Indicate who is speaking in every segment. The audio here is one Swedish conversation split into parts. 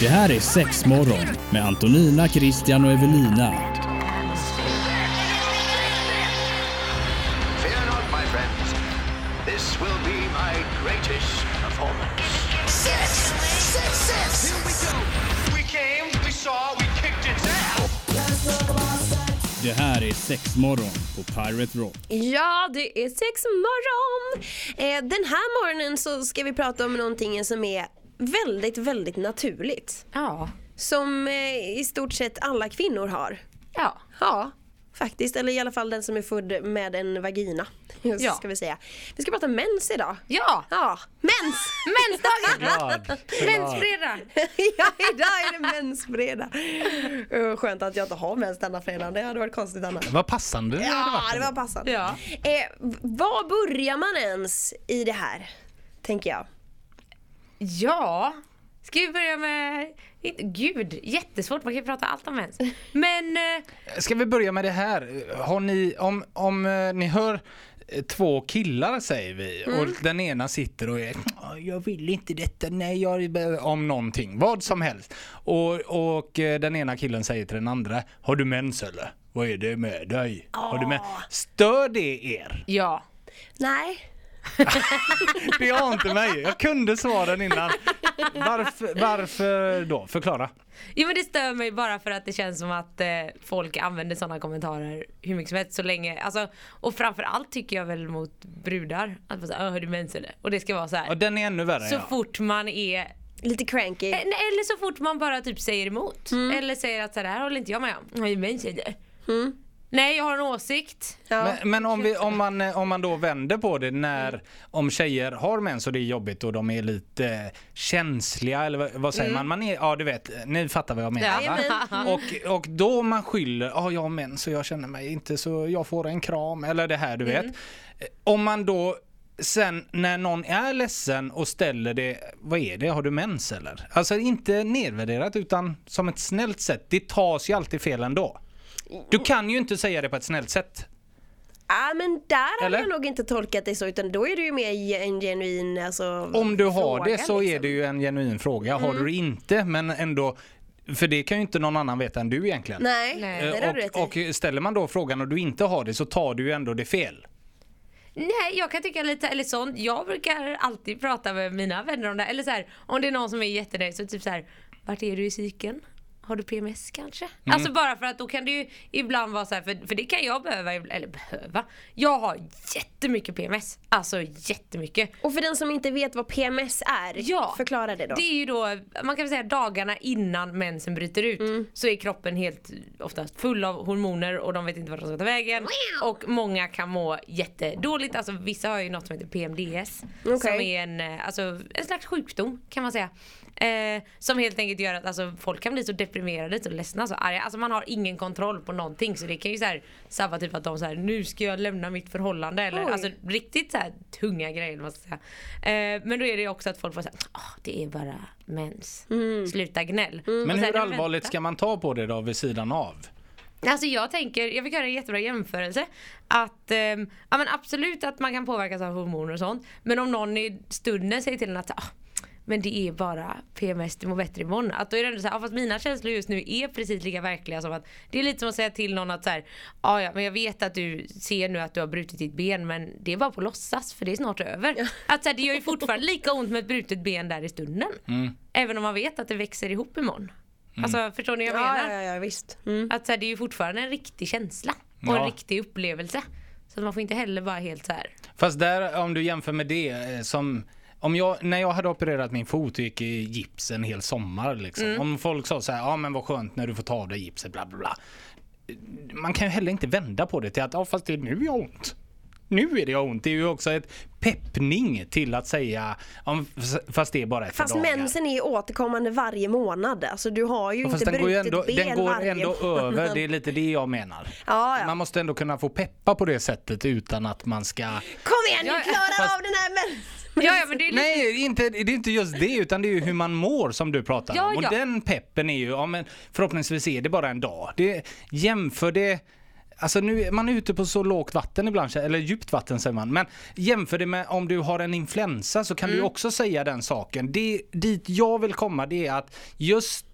Speaker 1: Det här är Sexmorgon med Antonina, Christian och Evelina.
Speaker 2: Fear not, my friends. This will be my greatest performance.
Speaker 3: Six! Six, six! Here we go!
Speaker 2: We came, we saw, we kicked its ass.
Speaker 1: Det här är Sexmorgon på Pirate Rock.
Speaker 4: Ja, det är sex morgon. Eh, den här morgonen så ska vi prata om någonting som är väldigt, väldigt naturligt.
Speaker 5: Ja.
Speaker 4: Som eh, i stort sett alla kvinnor har.
Speaker 5: Ja.
Speaker 4: Ja, faktiskt. Eller i alla fall den som är född med en vagina.
Speaker 5: Ja.
Speaker 4: Ska vi säga. Vi ska prata mens idag.
Speaker 5: Ja!
Speaker 4: Ja, mens!
Speaker 5: Mensdagen!
Speaker 6: Glad.
Speaker 5: Mensfredag!
Speaker 4: ja, idag är det mensfredag. Eh, Skönt att jag inte har mens denna fredag. Det hade varit konstigt annars.
Speaker 6: Vad passande det hade
Speaker 4: Ja,
Speaker 6: varit.
Speaker 4: det var passande.
Speaker 5: Ja.
Speaker 4: Eh, v- var börjar man ens i det här? Tänker jag.
Speaker 5: Ja! Ska vi börja med... inte- Gud, jättesvårt. Man kan ju prata allt om mens. Men... eh,
Speaker 6: Ska vi börja med det här? Har ni, om, om eh, ni hör eh, två killar säger vi och den ena sitter och är "Ah, jag vill inte detta, nej jag är bä-" om någonting, vad som helst. Och, och eh, den ena killen säger till den andra, har du mens eller? Vad är det med dig? Har du mens? Stör det er?
Speaker 5: Ja.
Speaker 4: Nej.
Speaker 6: Det ante mig, jag kunde svaren innan. Varför, varför då? Förklara.
Speaker 5: Jo men det stör mig bara för att det känns som att eh, folk använder sådana kommentarer hur mycket som helst så länge. Alltså, och framförallt tycker jag väl mot brudar. Att vara såhär, har du mens eller? Och det ska vara så här.
Speaker 6: Ja, den är ännu värre.
Speaker 5: så
Speaker 6: ja.
Speaker 5: fort man är
Speaker 4: Lite cranky.
Speaker 5: Eh, Nej, eller så fort man bara typ säger emot. Eller säger att så här håller inte jag med om. Nej, men tjejer. Mm. Nej, jag har en åsikt.
Speaker 4: Ja.
Speaker 6: Men, men om, vi, om, man, eh, om man då vänder på det när om tjejer har mens och det är jobbigt och de är lite eh, känsliga eller vad, vad säger man? man är, ja du vet, ni fattar vad Mm. jag menar va?
Speaker 5: Jajamän.
Speaker 6: Och, och då man skyller, ja jag har mens och jag känner mig inte så jag får en kram eller det här du vet. Eh, Om man då sen när någon är ledsen och ställer det, vad är det, har du mens eller? Alltså inte nedvärderat utan som ett snällt sätt, det tas ju alltid fel ändå. Du kan ju inte säga det på ett snällt sätt.
Speaker 4: ah, men där
Speaker 6: Eller?
Speaker 4: har jag nog inte tolkat det så utan då är det ju mer ge- en genuin alltså,
Speaker 6: Om du har
Speaker 4: fråga,
Speaker 6: det så är
Speaker 4: liksom. Mm.
Speaker 6: det ju en genuin fråga. Har du det inte, men ändå, för det kan ju inte någon annan veta än du egentligen.
Speaker 4: Nej,
Speaker 5: Nej.
Speaker 4: det
Speaker 6: Eh,
Speaker 4: där har du rätt
Speaker 6: och,
Speaker 4: i. Mm,
Speaker 6: och ställer man då frågan och du inte har det så tar du ju ändå det fel.
Speaker 5: Nej, jag kan tycka lite eller sånt. Jag brukar alltid prata med mina vänner om det. Eller så här, om det är någon som är jättenöjd så typ så här, vart är du i cykeln? Har du PMS kanske? Alltså bara för att då kan det ju ibland vara så här, för, för det kan jag behöva, ibland- eller behöva. Jag har jättemycket PMS. Alltså jättemycket.
Speaker 4: Och för den som inte vet vad PMS är,
Speaker 5: Ja.
Speaker 4: förklara det då.
Speaker 5: Det är ju då, man kan väl säga dagarna innan mensen bryter ut
Speaker 4: Mm.
Speaker 5: så är kroppen helt oftast full av hormoner och de vet inte vart de ska ta vägen. Och många kan må jättedåligt, alltså vissa har ju något som heter PMDS
Speaker 4: Okej.
Speaker 5: som är en, eh, alltså, en slags sjukdom kan man säga. Eh, som helt enkelt gör att alltså, folk kan bli så deprimerade, så ledsna, så arga. Alltså man har ingen kontroll på någonting så det kan ju så här, sabba typ att de så här, nu ska jag lämna mitt förhållande eller
Speaker 4: Oj.
Speaker 5: alltså riktigt så här tunga grejer. eller vad Man ska säga. Eh, men då är det också att folk får säga ah det är bara mens. Sluta gnäll. Och
Speaker 6: Men
Speaker 5: så här,
Speaker 6: hur allvarligt
Speaker 5: vänta.
Speaker 6: ska man ta på det då vid sidan av?
Speaker 5: Alltså jag tänker, jag fick höra en jättebra jämförelse. Att ehm, ja, men absolut att man kan påverkas av hormoner och sånt. Men om någon i stunden säger till en att ah, men det är bara PMS, du mår bättre imorgon. Att då är det ändå så här, ah, fast mina känslor just nu är precis lika verkliga som att det är lite som att säga till någon att så här, ah, ja men jag vet att du ser nu att du har brutit ditt ben men det är bara på låtsas för det är snart över. Att så här, det gör ju fortfarande lika ont med ett brutet ben där i stunden. Även om man vet att det växer ihop imorgon. Alltså förstår ni vad jag menar?
Speaker 4: ja, ja, ja, visst. Mm.
Speaker 5: Att så här, det är ju fortfarande en riktig känsla och en
Speaker 6: Ja.
Speaker 5: riktig upplevelse. Så att man får inte heller vara helt så här.
Speaker 6: Fast där, om du jämför med det eh, som om jag, när jag hade opererat min fot och gick i gips en hel sommar liksom.
Speaker 4: Mm.
Speaker 6: Om folk sa så här, ja men vad skönt när du får ta av dig gipset bla bla bla. Man kan ju heller inte vända på det till att, ja fast det är nu jag har ont. Nu är det jag har ont. Det är ju också ett peppning till att säga, "Ja, fast det är bara ett par
Speaker 4: Fast
Speaker 6: dagar."
Speaker 4: mensen är ju återkommande varje månad. Alltså du har ju
Speaker 6: Ja,
Speaker 4: inte
Speaker 6: Fast den
Speaker 4: brutit
Speaker 6: går ju ändå,
Speaker 4: ben
Speaker 6: den går
Speaker 4: varje
Speaker 6: ändå
Speaker 4: månad.
Speaker 6: över, det är lite det jag menar.
Speaker 4: Ja, ja.
Speaker 6: Man måste ändå kunna få peppa på det sättet utan att man ska
Speaker 4: Kom igen, du
Speaker 5: Ja,
Speaker 4: klarar
Speaker 6: fast-
Speaker 4: av den här mensen!
Speaker 5: Ja, ja men det är lite...
Speaker 6: Nej, inte, det är inte just det utan det är ju hur man mår som du pratar
Speaker 5: Ja,
Speaker 6: om. Och
Speaker 5: ja.
Speaker 6: den peppen är ju, ja men förhoppningsvis är det bara en dag. Det, jämför det Alltså nu, man är ute på så lågt vatten ibland, eller djupt vatten säger man. Men jämför det med om du har en influensa så kan
Speaker 5: Mm.
Speaker 6: du också säga den saken. Det, dit jag vill komma det är att just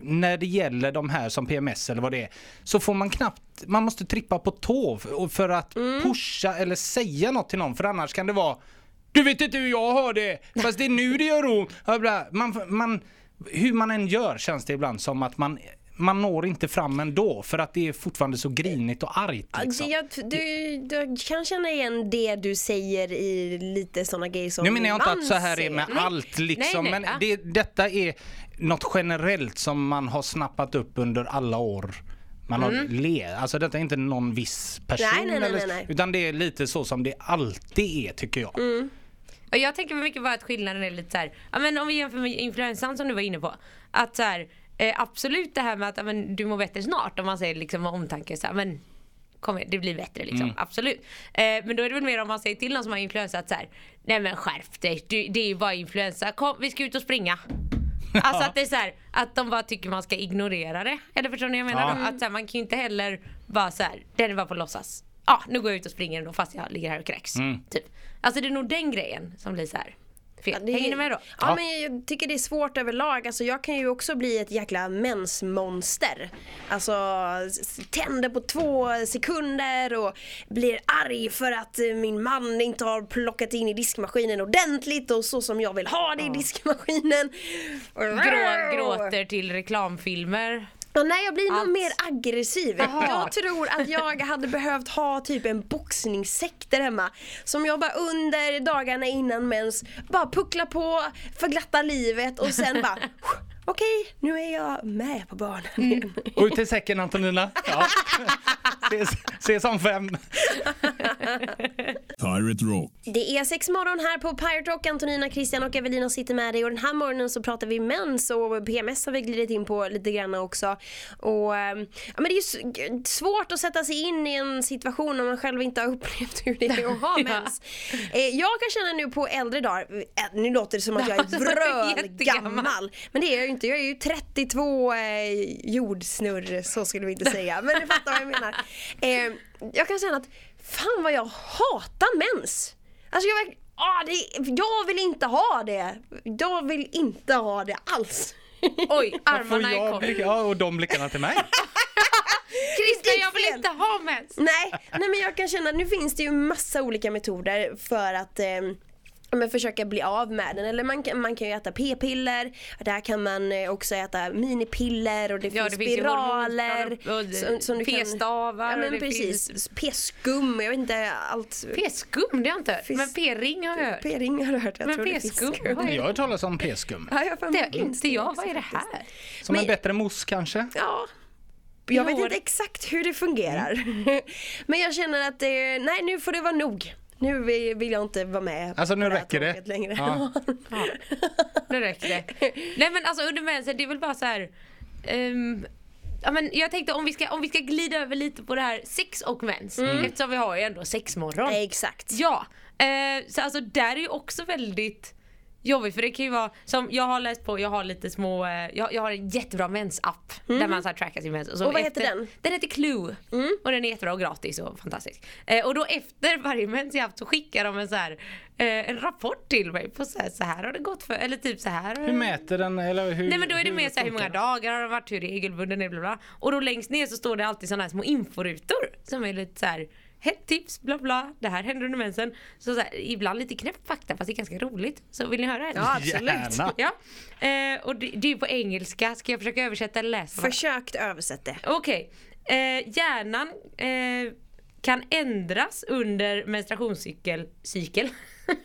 Speaker 6: när det gäller de här som PMS eller vad det är, så får man knappt, man måste trippa på tå för- för att
Speaker 5: Mm.
Speaker 6: pusha eller säga något till någon för annars kan det vara du vet inte hur jag har det, fast det är nu det gör ont. Ja, bla. Man, man, hur man än gör känns det ibland som att man, man når inte fram ändå för att det är fortfarande så grinigt och argt. Liksom.
Speaker 4: Jag, du, du kan känna igen det du säger i lite sådana grejer som
Speaker 6: Nu menar jag inte
Speaker 4: man
Speaker 6: att så här är
Speaker 4: säger.
Speaker 6: med allt liksom,
Speaker 5: nej,
Speaker 6: men
Speaker 5: ja.
Speaker 6: det, detta är något generellt som man har snappat upp under alla år man har le. Alltså detta är inte någon viss person.
Speaker 4: Mm. Nej, nej, nej,
Speaker 6: eller-
Speaker 4: nej, nej. Mm.
Speaker 6: Utan det är lite så som det alltid är tycker jag.
Speaker 5: Och jag tänker mycket bara att skillnaden är lite så här, ja men om vi jämför med influensan som du var inne på. Att så här, eh, absolut det här med att ja, men, du mår bättre snart om man säger liksom av omtanke så här, men kom igen, det blir bättre liksom. Absolut. Eh, men då är det väl mer om man säger till någon som har influensa att så här, nej men skärp dig, du, det är ju bara influensa, kom vi ska ut och springa. Alltså att det är så här, att de bara tycker man ska ignorera det. Eller förstår ni vad jag menar?
Speaker 6: Ja.
Speaker 5: Då? Att så här, man kan ju inte heller bara så här, det är bara på låtsas. Ja, nu går jag ut och springer ändå fast jag ligger här och kräks. Typ. Alltså det är nog den grejen som blir så här
Speaker 4: Ja,
Speaker 5: fel.
Speaker 4: det är-
Speaker 5: Hänger ni med då?
Speaker 4: Ja, men jag tycker det är svårt överlag. Alltså, jag kan ju också bli ett jäkla mensmonster. Alltså s- tänder på två sekunder och blir arg för att eh, min man inte har plockat in i diskmaskinen ordentligt och så som jag vill ha det i diskmaskinen.
Speaker 5: Grå, gråter till reklamfilmer.
Speaker 4: Ja, nej, jag blir nog
Speaker 5: Allt.
Speaker 4: mer aggressiv.
Speaker 5: Jaha.
Speaker 4: Jag tror att jag hade behövt ha typ en boxningssekt där hemma. Som jag bara under dagarna innan mens bara puckla på för glatta livet och sen bara okej, nu är jag med på banan
Speaker 5: Mm.
Speaker 4: igen.
Speaker 6: Och ut i säcken Antonina. Ja. ses, ses om fem.
Speaker 1: Pirate Rock.
Speaker 4: Det är sex morgon här på Pirate Rock. Antonina, Christian och Evelina sitter med dig. Och den här morgonen så pratar vi mens och PMS har vi glidit in på lite grann också. Och, ehm, ja, men det är ju s- g- svårt att sätta sig in i en situation om man själv inte har upplevt hur det är att ha
Speaker 5: Ja.
Speaker 4: mens. Eh, jag kan känna nu på äldre dagar, eh, nu låter det som att jag är
Speaker 5: Ja, så är du
Speaker 4: vrölgammal.
Speaker 5: jättegammal.
Speaker 4: Men det är jag ju inte. Jag är ju 32 eh, jordsnurr, så skulle vi inte säga. Men du fattar vad jag menar. Eh, jag kan känna att fan vad jag hatar mens. Alltså jag, verk- ah, det, jag vill inte ha det. Jag vill inte ha det alls.
Speaker 5: Oj,
Speaker 6: Får
Speaker 5: armarna är
Speaker 6: jag
Speaker 5: kors.
Speaker 6: blicka, ja, och de blickarna till mig.
Speaker 5: Christer jag
Speaker 4: fel.
Speaker 5: vill inte ha mens!
Speaker 4: Nej, nej men jag kan känna, nu finns det ju massa olika metoder för att eh, men försöka bli av med den. Eller man kan, man kan ju äta p-piller, där kan man eh, också äta minipiller och det
Speaker 5: Ja,
Speaker 4: finns
Speaker 5: det finns ju
Speaker 4: spiraler.
Speaker 5: hormoner och- och p-stavar
Speaker 4: Ja
Speaker 5: och
Speaker 4: men
Speaker 5: det
Speaker 4: precis, p-skum, jag vet inte allt.
Speaker 5: P-skum det har jag inte hört.
Speaker 4: Finns-
Speaker 5: Men P-ring har jag hört.
Speaker 4: P-ring har jag hört, jag
Speaker 5: Men
Speaker 4: tror det finns
Speaker 5: p-skum,
Speaker 4: skum.
Speaker 5: vad är
Speaker 6: Jag
Speaker 5: det?
Speaker 6: har hört talas om p-skum.
Speaker 4: Ja, jag har för
Speaker 5: Det
Speaker 4: mig att
Speaker 5: har
Speaker 4: det finns
Speaker 5: inte jag.
Speaker 4: också
Speaker 5: Vad är det
Speaker 4: faktiskt.
Speaker 5: här?
Speaker 6: Som
Speaker 4: Men-
Speaker 6: en bättre mousse kanske?
Speaker 4: Ja. Jag vet
Speaker 5: Några-
Speaker 4: inte exakt hur det fungerar.
Speaker 6: Mm.
Speaker 4: Men jag känner att eh, nej nu får det vara nog. Nu vill vill jag inte vara med
Speaker 6: Alltså,
Speaker 4: på
Speaker 6: nu
Speaker 4: det här
Speaker 6: räcker det.
Speaker 4: tåget Längre.
Speaker 6: Ja.
Speaker 5: Nu räcker det. Nej men alltså under mensen, det är väl bara så här. ehm, ja, men jag tänkte om vi, ska, om vi ska glida över lite på det här sex och mens. Eftersom vi har ju ändå sexmorgon.
Speaker 4: Nej, exakt.
Speaker 5: Ja, eh, så alltså där är ju också väldigt jobbigt för det kan ju vara som jag har läst på, jag har lite små, eh, jag, jag har en jättebra mensapp där man så här trackar sin mens. så
Speaker 4: Mm. Och vad heter den? Mm.
Speaker 5: Den heter Clue och den är jättebra och gratis och fantastisk. Eh, och då efter varje mens jag haft så skickar de en så här, eh, en rapport till mig på så här, så här har det gått för, eller typ så här.
Speaker 6: Hur mäter den? Eller hur,
Speaker 5: Nej men då är det mer så här, hur många dagar har den varit, hur regelbunden är bla bla. Och då längst ner så står det alltid sådana här små inforutor som är lite så här hett tips bla bla, det här händer under mensen. Så, så här, ibland lite knäpp fakta fast det är ganska roligt. Så vill ni höra?
Speaker 4: Ja, absolut.
Speaker 6: Gärna.
Speaker 5: Ja. Eh, och det, det är ju på engelska, ska jag försöka översätta eller läsa? vad-
Speaker 4: Försökt översätt det.
Speaker 5: Okej. Eh, hjärnan eh, kan ändras under menstruationscykel cykel,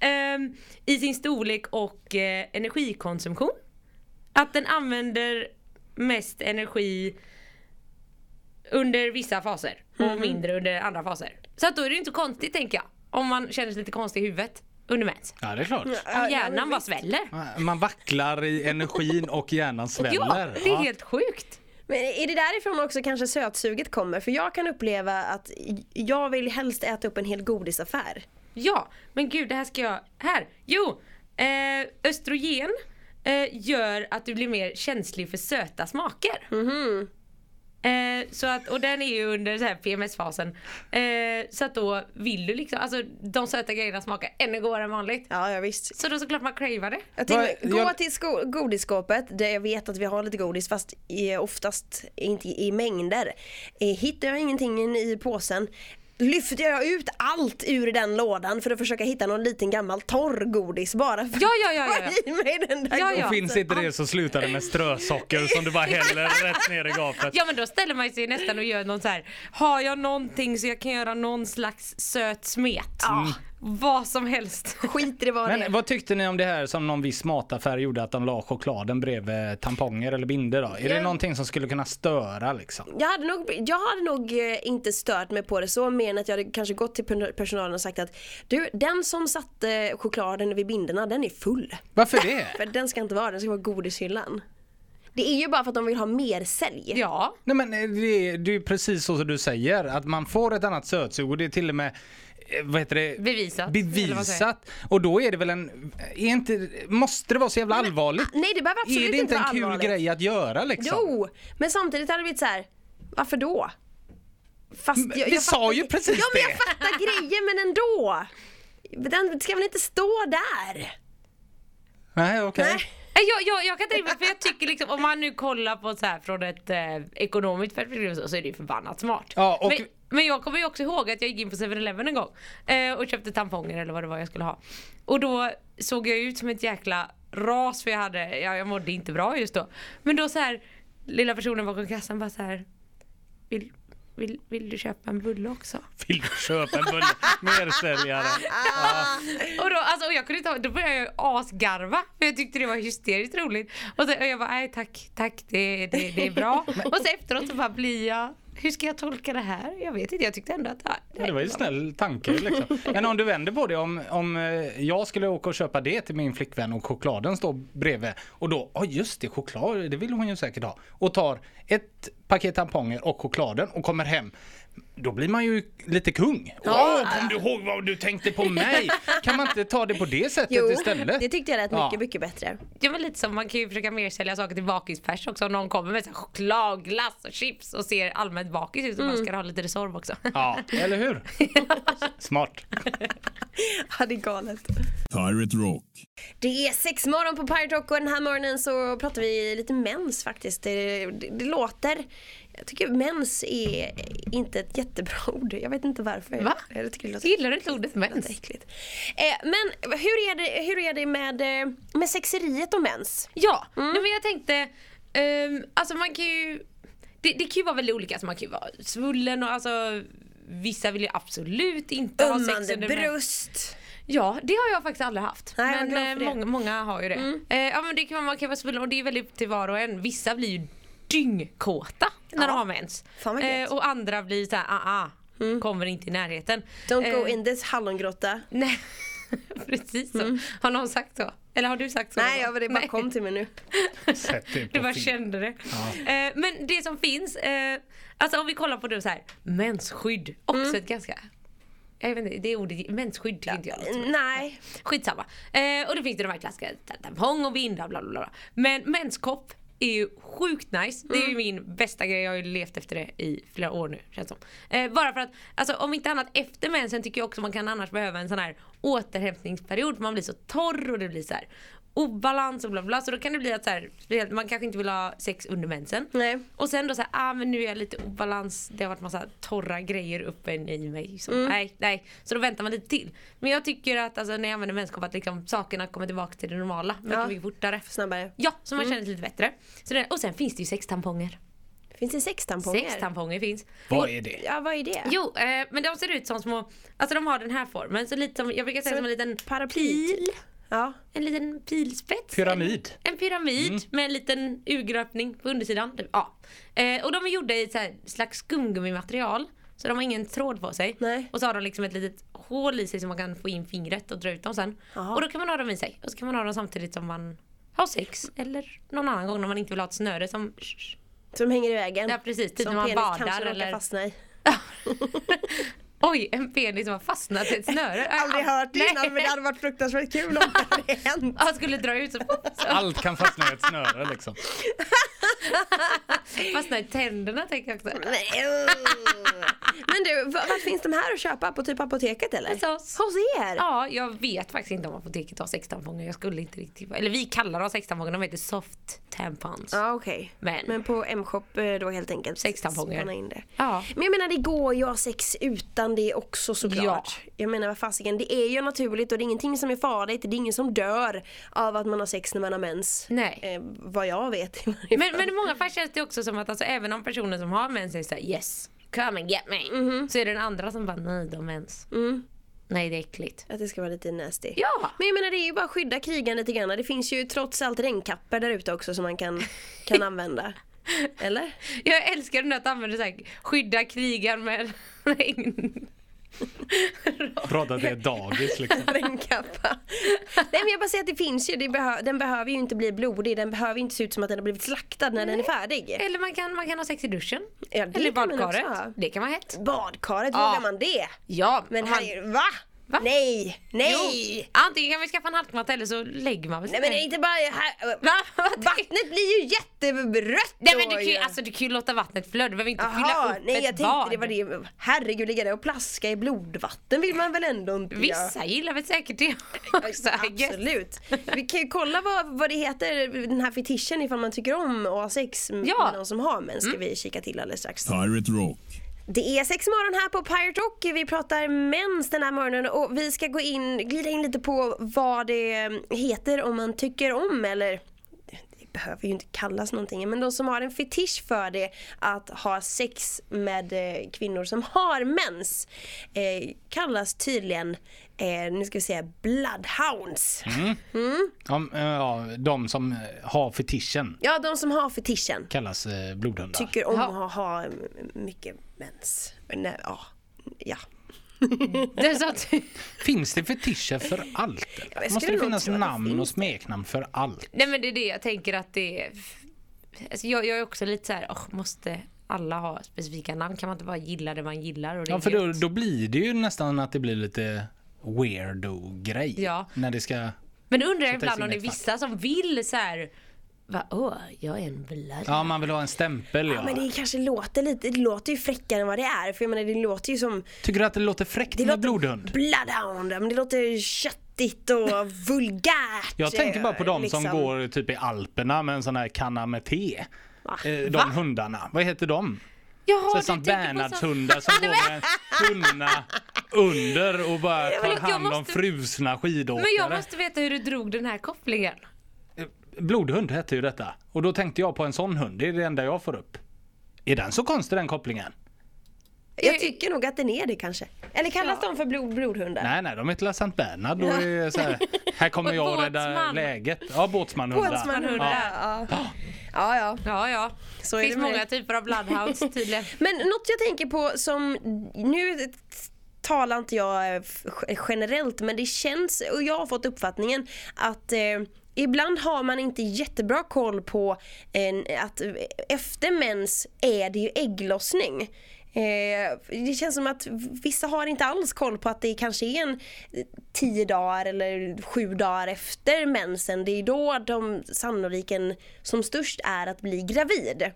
Speaker 5: Ehm, i sin storlek och eh, energikonsumtion. Att den använder mest energi under vissa faser
Speaker 6: Mhm.
Speaker 5: och mindre under andra faser. Så att då är det ju inte konstigt tänker jag. Om man känner sig lite konstig i huvudet under mens.
Speaker 6: Ja, det är klart.
Speaker 5: Om hjärnan bara sväller.
Speaker 6: Man vacklar i energin och hjärnan
Speaker 5: Ja,
Speaker 6: sväller.
Speaker 5: det är helt sjukt.
Speaker 4: Men är det därifrån också kanske sötsuget kommer? För jag kan uppleva att jag vill helst äta upp en hel godisaffär.
Speaker 5: Ja, men gud det här ska jag... Här! Jo! Eh, östrogen eh, gör att du blir mer känslig för söta smaker. Eh, så att, och den är ju under så här PMS-fasen. Eh, så att då vill du liksom, alltså de söta grejerna smakar ännu godare än vanligt.
Speaker 4: Ja, ja visst.
Speaker 5: Så då såklart man cravar det.
Speaker 4: Jag till,
Speaker 6: Vad-
Speaker 4: gå
Speaker 6: jag-
Speaker 4: till sko- godisskåpet där jag vet att vi har lite godis fast i, oftast inte i mängder. Eh, Hittar jag ingenting i påsen lyfter jag ut allt ur den lådan för att försöka hitta någon liten gammal torr godis bara för
Speaker 5: Ja, ja, ja, ja, ja.
Speaker 4: att få i mig den där
Speaker 5: Ja, ja.
Speaker 4: godisen.
Speaker 5: Och
Speaker 6: Finns inte det så slutar det med strösocker som du bara häller rätt ner i gapet.
Speaker 5: Ja men då ställer man sig nästan och gör någon så här. Har jag någonting så jag kan göra någon slags söt smet? Vad som helst.
Speaker 4: Skiter i vad det
Speaker 6: Men
Speaker 4: är.
Speaker 6: vad tyckte ni om det här som någon viss mataffär gjorde att de la chokladen bredvid tamponger eller binder då? Är det
Speaker 4: Ja.
Speaker 6: någonting som skulle kunna störa liksom?
Speaker 4: Jag hade, nog, jag hade nog eh, inte stört mig på det så men att jag hade kanske gått till per- personalen och sagt att du, den som satte chokladen vid binderna den är full.
Speaker 6: Varför det?
Speaker 4: För den ska inte vara den ska vara godishyllan. Det är ju bara för att de vill ha mer sälj.
Speaker 5: Ja.
Speaker 6: Nej men eh, det, det är ju precis så som du säger att man får ett annat sötsug och det är till och med eh, vad heter det?
Speaker 5: Bevisat, eller vad säger
Speaker 6: Bevisat. Och då är det väl en, är inte, måste det vara så jävla allvarligt?
Speaker 4: nej, det behöver absolut
Speaker 6: Är det
Speaker 4: inte
Speaker 6: inte en
Speaker 4: vara
Speaker 6: kul
Speaker 4: allvarligt.
Speaker 6: grej att göra liksom?
Speaker 4: Jo, men samtidigt hade det blivit så här. varför då? Fast
Speaker 6: Men vi sa
Speaker 4: fattar-
Speaker 6: ju precis
Speaker 4: Ja men jag
Speaker 6: det.
Speaker 4: fattar grejen men ändå. Den ska väl inte stå där?
Speaker 6: Nej okej.
Speaker 4: Nej.
Speaker 5: Nej, Eh, Jag, jag, jag kan inte riktigt- för jag tycker liksom om man nu kollar på så här från ett eh, ekonomiskt perspektiv så, så är det ju förbannat smart.
Speaker 6: Ja, och-
Speaker 5: men, men jag kommer ju också ihåg att jag gick in på 7-Eleven en gång eh, och köpte tamponger eller vad det var jag skulle ha. Och då såg jag ut som ett jäkla ras för jag hade, jag, jag mådde inte bra just då. Men då så här lilla personen bakom kassan bara så här vill, vill, vill du köpa en bulle också?
Speaker 6: Vill du köpa en bulle? Mersäljare.
Speaker 5: Och då, alltså, och jag kunde inte, ha- då började jag ju asgarva för jag tyckte det var hysteriskt roligt. Och, så, och jag bara, nej tack, tack, det, det, det är bra. och så efteråt så bara blir jag, hur ska jag tolka det här? Jag vet inte, jag tyckte ändå att...
Speaker 6: Ja, det var ju snäll tanke liksom. Men om du vänder på det, om, om eh, jag skulle åka och köpa det till min flickvän och chokladen står bredvid och då, ja just det, choklad, det vill hon ju säkert ha. Och tar ett paket tamponger och chokladen och kommer hem. Då blir man ju lite kung. Åh, kom du ihåg vad du tänkte på mig? Kan man inte ta det på det sättet istället?
Speaker 4: det tyckte jag lät
Speaker 6: Ja.
Speaker 4: mycket, mycket bättre.
Speaker 5: Ja men lite som, man kan ju försöka mer sälja saker till bakispers också om någon kommer med så här choklad, glass och chips och ser allmänt bakis ut och man ska ha lite Resorb också.
Speaker 6: Mm. Ja, eller hur? Smart.
Speaker 4: Ja, det är galet.
Speaker 1: Pirate Rock.
Speaker 4: Det är sex morgon på Pirate Rock och den här morgonen så pratar vi lite mens faktiskt. Det, det, det låter... Jag tycker mens är inte ett jättebra ord. Jag vet inte varför.
Speaker 5: Va?
Speaker 4: Jag tycker det låter
Speaker 5: Gillar du inte ordet
Speaker 4: Det
Speaker 5: mens?
Speaker 4: låter äckligt. Eh, men hur är det, hur är det med, eh, med sexeriet och mens?
Speaker 5: Ja,
Speaker 6: Mm.
Speaker 5: nej, men jag tänkte, ehm, alltså man kan ju, det, det kan ju vara väldigt olika, alltså man kan ju vara svullen och alltså vissa vill ju absolut inte ha sex
Speaker 4: Ömmande
Speaker 5: under men-
Speaker 4: bröst.
Speaker 5: Ja, det har jag faktiskt aldrig haft.
Speaker 4: Nej, vad glad för
Speaker 5: men
Speaker 4: det. Mm.
Speaker 5: eh, många, många har ju det. Eh, ja, men det kan, vara- man kan vara svullen och det är väldigt upp till var och en. Vissa blir ju dyngkåta när de har mens.
Speaker 4: Fan vad gött. Mm.
Speaker 5: och andra blir såhär, ah, ah, kommer inte i närheten.
Speaker 4: Don't go
Speaker 5: Eh,
Speaker 4: in this hallongrotta.
Speaker 5: Nej, precis så. Har någon sagt så? Eller har du sagt så?
Speaker 4: Nej, jag vill det bara
Speaker 5: Nej.
Speaker 4: kom till mig nu.
Speaker 6: Sätt det på
Speaker 5: Du bara
Speaker 6: film.
Speaker 5: kände det. Eh, men det som finns, eh, alltså om vi kollar på det så här, mensskydd, också
Speaker 4: Mm.
Speaker 5: ett ganska jag vet inte, det är ordet, mensskydd tycker inte jag låter.
Speaker 4: Nej,
Speaker 5: Skitsamma. Eh, och då finns det de här klassiska ta- tampong och binda bla bla bla. Men menskopp är ju sjukt nice. Det är ju min bästa grej. Jag har ju levt efter det i flera år nu känns det som. Eh, bara för att, alltså om inte annat efter mensen tycker jag också man kan annars behöva en sån här återhämtningsperiod. För man blir så torr och det blir så här obalans och bla bla. Så då kan det bli att så här, speciellt- man kanske inte vill ha sex under mensen.
Speaker 4: Nej.
Speaker 5: Och sen då så här, ah men nu är jag lite obalans. Det har varit massa torra grejer uppe i mig. Så,
Speaker 4: Mm.
Speaker 5: Nej, nej. Så då väntar man lite till. Men jag tycker att alltså, när jag använder menskopp att liksom, sakerna kommer tillbaka till det normala mycket,
Speaker 4: Ja.
Speaker 5: mycket fortare.
Speaker 4: snabbare. Mm.
Speaker 5: Ja, så man känner sig lite bättre. Så det, och sen finns det ju sextamponger.
Speaker 4: Finns det sex tamponger?
Speaker 5: Sextamponger finns.
Speaker 6: Vad är det?
Speaker 4: Ja, vad är det?
Speaker 5: Jo, eh, men de ser ut som små, alltså de har den här formen. Så lite som, jag brukar säga
Speaker 4: Som
Speaker 5: som en liten
Speaker 4: paraply,
Speaker 5: pil.
Speaker 4: Ja.
Speaker 5: En liten pilspets.
Speaker 6: Pyramid.
Speaker 5: En pyramid med en liten urgröpning på undersidan. Typ. Ja. Eh, och de är gjorda i ett så här slags skumgummimaterial. Så de har ingen tråd på sig.
Speaker 4: Nej.
Speaker 5: Och så har de liksom ett litet hål i sig som man kan få in fingret och dra ut dem sen.
Speaker 4: Jaha.
Speaker 5: Och då kan man ha dem i sig. Och så kan man ha dem samtidigt som man har sex. Eller någon annan gång när man inte vill ha ett snöre som...
Speaker 4: Som hänger i vägen.
Speaker 5: Ja, precis. Typ
Speaker 4: Som
Speaker 5: när man
Speaker 4: penis
Speaker 5: badar
Speaker 4: kanske råkar
Speaker 5: eller-
Speaker 4: fastna i.
Speaker 5: Oj, en penis som har fastnat i ett snöre. Ah,
Speaker 4: Aldrig hört det innan men det hade varit fruktansvärt kul om det hade hänt.
Speaker 5: Han skulle dra ut så... så.
Speaker 6: Allt kan fastna i ett snöre liksom.
Speaker 5: Fastnar i tänderna tänker jag också.
Speaker 4: Men du, v- vart finns de här att köpa? På typ apoteket eller?
Speaker 5: Hos oss.
Speaker 4: Hos er?
Speaker 5: Ja, jag vet faktiskt inte om apoteket har sextampånger. Jag skulle inte riktigt... Eller vi kallar dem sextampånger, de heter soft tampons.
Speaker 4: Ja okej.
Speaker 5: Men-
Speaker 4: Men på M-shop eh, då helt enkelt.
Speaker 5: Sextamponger.
Speaker 4: Spana In det.
Speaker 5: Ja.
Speaker 4: Men jag menar det går ju att ha sex utan det också såklart. Ja. Jag menar vad fasiken, det är ju naturligt och det är ingenting som är farligt. Det är ingen som dör av att man har sex när man har mens.
Speaker 5: Nej.
Speaker 4: Eh, vad jag vet. i varje
Speaker 5: Men,
Speaker 4: fall.
Speaker 5: men i många fall känns det också som att alltså, även om personen som har mens är såhär yes, come and get me.
Speaker 4: Mm-hmm.
Speaker 5: Så är det den andra som bara nej de har mens.
Speaker 4: Mm.
Speaker 5: Nej det är äckligt.
Speaker 4: Att det ska vara lite nasty.
Speaker 5: Ja.
Speaker 4: Men jag menar det är ju bara att skydda krigan lite grann. Det finns ju trots allt regnkappor där ute också som man kan, kan använda. Eller?
Speaker 5: Jag älskar den där att använda såhär skydda krigan med regn.
Speaker 6: Bra att det är dagis liksom.
Speaker 4: Regnkappa. Nej men jag bara säger att det finns ju. Det behö- den behöver ju inte bli blodig. Den behöver ju inte se ut som att den har blivit slaktad när den är färdig.
Speaker 5: Eller man kan, man kan ha sex i duschen.
Speaker 4: Ja, det
Speaker 5: Eller i
Speaker 4: kan man
Speaker 5: badkaret.
Speaker 4: också ha.
Speaker 5: Det kan vara hett.
Speaker 4: Badkaret,
Speaker 5: Ja.
Speaker 4: vågar man det?
Speaker 5: Ja,
Speaker 4: Men
Speaker 5: om
Speaker 4: här
Speaker 5: man,
Speaker 4: är va?
Speaker 5: Va?
Speaker 4: Nej! Nej!
Speaker 5: Jo, antingen kan vi skaffa en halkmatta eller så lägger man väl
Speaker 4: Nej men det är inte bara här.
Speaker 5: Va? Vad tänker-
Speaker 4: Vattnet blir ju jätterött
Speaker 5: Nej men du
Speaker 4: då
Speaker 5: kan ju,
Speaker 4: ju.
Speaker 5: alltså, du kan ju låta vattnet flöda, du behöver inte
Speaker 4: Jaha,
Speaker 5: fylla upp
Speaker 4: nej jag
Speaker 5: ett
Speaker 4: tänkte
Speaker 5: bad.
Speaker 4: det var det. Herregud, ligga där och plaska i blodvatten vill man väl ändå inte göra.
Speaker 5: Vissa gillar väl säkert det också. I guess.
Speaker 4: Absolut. Vi kan ju kolla vad, vad det heter, den här fetischen ifall man tycker om att ha sex med
Speaker 5: Ja. Mm.
Speaker 4: någon som har men ska vi kika till alldeles strax.
Speaker 1: Pirate Rock.
Speaker 4: Det är sex morgon här på Pirate Rock. Vi pratar mens den här morgonen och vi ska gå in, glida in lite på vad det heter om man tycker om eller det behöver ju inte kallas någonting men de som har en fetisch för det att ha sex med eh, kvinnor som har mens eh, kallas tydligen, eh, nu ska vi säga bloodhounds.
Speaker 6: Ja, men, eh, ja, de som eh, har fetischen
Speaker 4: Ja, de som har fetischen.
Speaker 6: kallas eh, blodhundar.
Speaker 4: tycker om
Speaker 5: Ja.
Speaker 4: att ha, ha mm, mycket mens. Nej, ja. ja.
Speaker 5: Det är så att,
Speaker 6: Finns det fetischer för allt?
Speaker 4: Ja, jag
Speaker 6: Måste
Speaker 4: skulle
Speaker 6: det
Speaker 4: nog
Speaker 6: finnas
Speaker 4: tro att det
Speaker 6: namn
Speaker 4: finns
Speaker 6: och smeknamn för allt?
Speaker 5: nej men det är det jag tänker att det är. Alltså jag, jag är också lite så här, "Åh, måste alla ha specifika namn? Kan man inte bara gilla det man gillar? Och det
Speaker 6: Ja,
Speaker 5: är
Speaker 6: för då,
Speaker 5: gött?"
Speaker 6: då blir det ju nästan att det blir lite weirdo-grej.
Speaker 5: Ja.
Speaker 6: När det ska...
Speaker 5: Men då undrar jag
Speaker 6: Sätta
Speaker 5: ibland
Speaker 6: sig
Speaker 5: om det är
Speaker 6: i mitt
Speaker 5: vissa som vill så här, va, åh, jag är en blöd.
Speaker 6: Ja, man vill ha en stämpel. Ja.
Speaker 4: Ja, men det kanske låter lite, det låter ju fräckare än vad det är. För jag menar det låter ju som
Speaker 6: Tycker du att det låter fräckt
Speaker 4: det
Speaker 6: med
Speaker 4: låter
Speaker 6: blodhund?
Speaker 4: bloodhound, men det låter köttigt och vulgärt.
Speaker 6: Jag tänker bara på de som
Speaker 4: liksom.
Speaker 6: går typ i Alperna med en sån här kanna med te.
Speaker 4: Va?
Speaker 6: Eh, De
Speaker 5: Va?
Speaker 6: hundarna. Vad heter de?
Speaker 5: Jaha,
Speaker 6: Så
Speaker 5: du
Speaker 6: Sankt
Speaker 5: tänker på så-
Speaker 6: Bernhardshundar som går med tunna under och bara
Speaker 5: Jag vill-
Speaker 6: tar
Speaker 5: jag
Speaker 6: hand om
Speaker 5: måste-
Speaker 6: frusna skidåkare. Eh,
Speaker 5: Men jag måste veta hur du drog den här kopplingen.
Speaker 6: Blodhund hette ju detta. Och då tänkte jag på en sån hund. Det är det enda jag får upp. Är den så konstig den kopplingen?
Speaker 4: Jag tycker nog att den är det kanske. Eller kallas de för blod, blodhundar?
Speaker 6: Nej, nej, de heter la Sankt Bernhard. Då är det så här, här kommer
Speaker 5: Och
Speaker 6: jag och rädda
Speaker 5: båtsman.
Speaker 6: läget. Ja, båtsmanhundar.
Speaker 4: Båtsmanhundar. Ja. Ja. ja, ja.
Speaker 5: Ja, ja.
Speaker 4: Så är
Speaker 5: det finns
Speaker 4: det med
Speaker 5: många
Speaker 4: det.
Speaker 5: typer av bloodhounds tydligen.
Speaker 4: Men något jag tänker på som, nu talar inte jag eh, f- generellt men det känns, och jag har fått uppfattningen att eh, Ibland har man inte jättebra koll på eh, att eh, efter mens är det ju ägglossning. Eh, det känns som att vissa har inte alls koll på att det kanske är en eh, tio dagar eller sju dagar efter mensen. Det är då de sannoliken som störst är att bli gravid.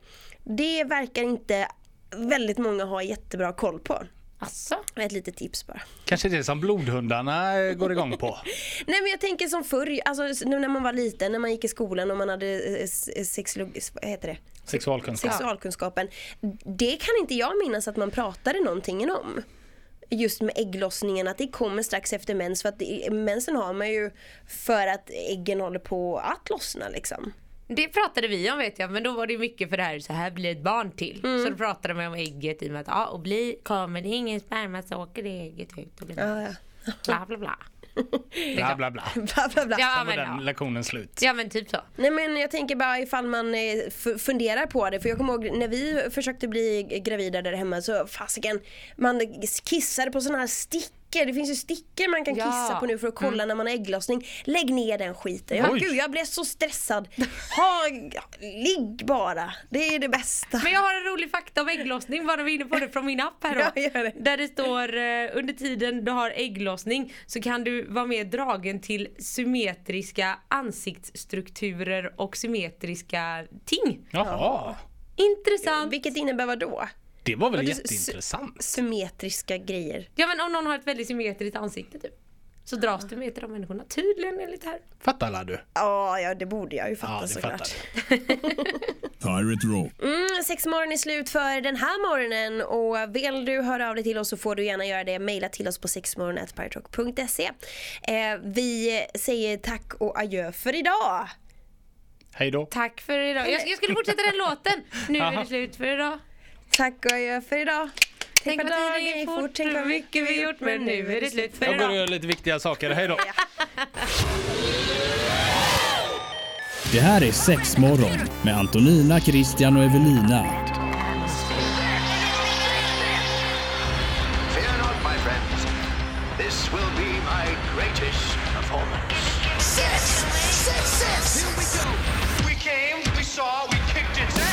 Speaker 4: Det verkar inte väldigt många ha jättebra koll på.
Speaker 5: Alltså.
Speaker 4: Ett litet tips bara.
Speaker 6: Kanske det som blodhundarna eh, går igång på.
Speaker 4: Nej men jag tänker som förr, alltså nu när man var liten, när man gick i skolan och man hade eh, s- sexolog... s- Vad heter det?
Speaker 6: Sexualkunskap.
Speaker 4: Sexualkunskapen. Det kan inte jag minnas att man pratade någonting om. Just med ägglossningen, att det kommer strax efter mens. För att det- mensen har man ju för att äggen håller på att lossna liksom.
Speaker 5: Det pratade vi om vet jag, men då var det mycket för det här, så här blir ett barn till.
Speaker 4: Mm.
Speaker 5: Så då pratade man om ägget i och med att ja, och blir, kommer det ingen sperma så åker det ägget ut och blir
Speaker 4: Ja, ja.
Speaker 5: bla bla bla.
Speaker 6: Bla, bla, bla.
Speaker 4: Bla, bla, bla.
Speaker 5: Ja
Speaker 6: Sen
Speaker 5: men,
Speaker 6: var den
Speaker 5: ja.
Speaker 6: lektionen slut.
Speaker 5: ja men typ så.
Speaker 4: Nej men jag tänker bara ifall man eh, f- funderar på det. För jag kommer ihåg när vi försökte bli gravida där hemma så fasiken, man kissade på sådana här stickor. Det finns ju stickor man kan
Speaker 5: Ja.
Speaker 4: kissa på nu för att kolla när man har ägglossning. Lägg ner den skiten. Jag,
Speaker 6: Mm. Oj.
Speaker 4: gud jag blev så stressad. Ha, ligg bara. Det är det bästa.
Speaker 5: Men jag har en rolig fakta om ägglossning, bara vi är inne på det från min app här då.
Speaker 4: Ja, gör det.
Speaker 5: Där det står eh, under tiden du har ägglossning så kan du vara mer dragen till symmetriska ansiktsstrukturer och symmetriska ting.
Speaker 6: Jaha.
Speaker 5: Intressant.
Speaker 4: Vilket innebär vad då?
Speaker 6: Det var väl
Speaker 4: Vadå,
Speaker 6: jätteintressant?
Speaker 4: Symmetriska grejer.
Speaker 5: Ja men om någon har ett väldigt symmetriskt ansikte typ. Så dras du med till de människorna. Tydligen enligt det här.
Speaker 6: Fattar alla du?
Speaker 4: Ja, ja, det borde jag ju fatta
Speaker 6: Ja, det fattar
Speaker 4: såklart.
Speaker 1: Pirate Rock.
Speaker 4: Mm, Sexmorgon är slut för den här morgonen och vill du höra av dig till oss så får du gärna göra det. Maila till oss på sexmorgon.piratrock.se. Eh, vi säger tack och adjö för idag.
Speaker 6: Hej då.
Speaker 5: Tack för idag. Jag, jag skulle fortsätta den låten. Nu är det slut för idag.
Speaker 4: Tack och adjö för idag.
Speaker 5: Tänk vad tiden gick fort, tänk vad mycket vi gjort men nu är det slut för
Speaker 6: Jag går och
Speaker 5: idag.
Speaker 6: gör lite viktiga saker. Hej då.
Speaker 1: Det här är sex morgon med Antonina, Christian och Evelina.
Speaker 2: Fear not, my friends. This will be my greatest performance.
Speaker 3: Six, six, six. Here we go.
Speaker 2: We came, we saw, we kicked its ass.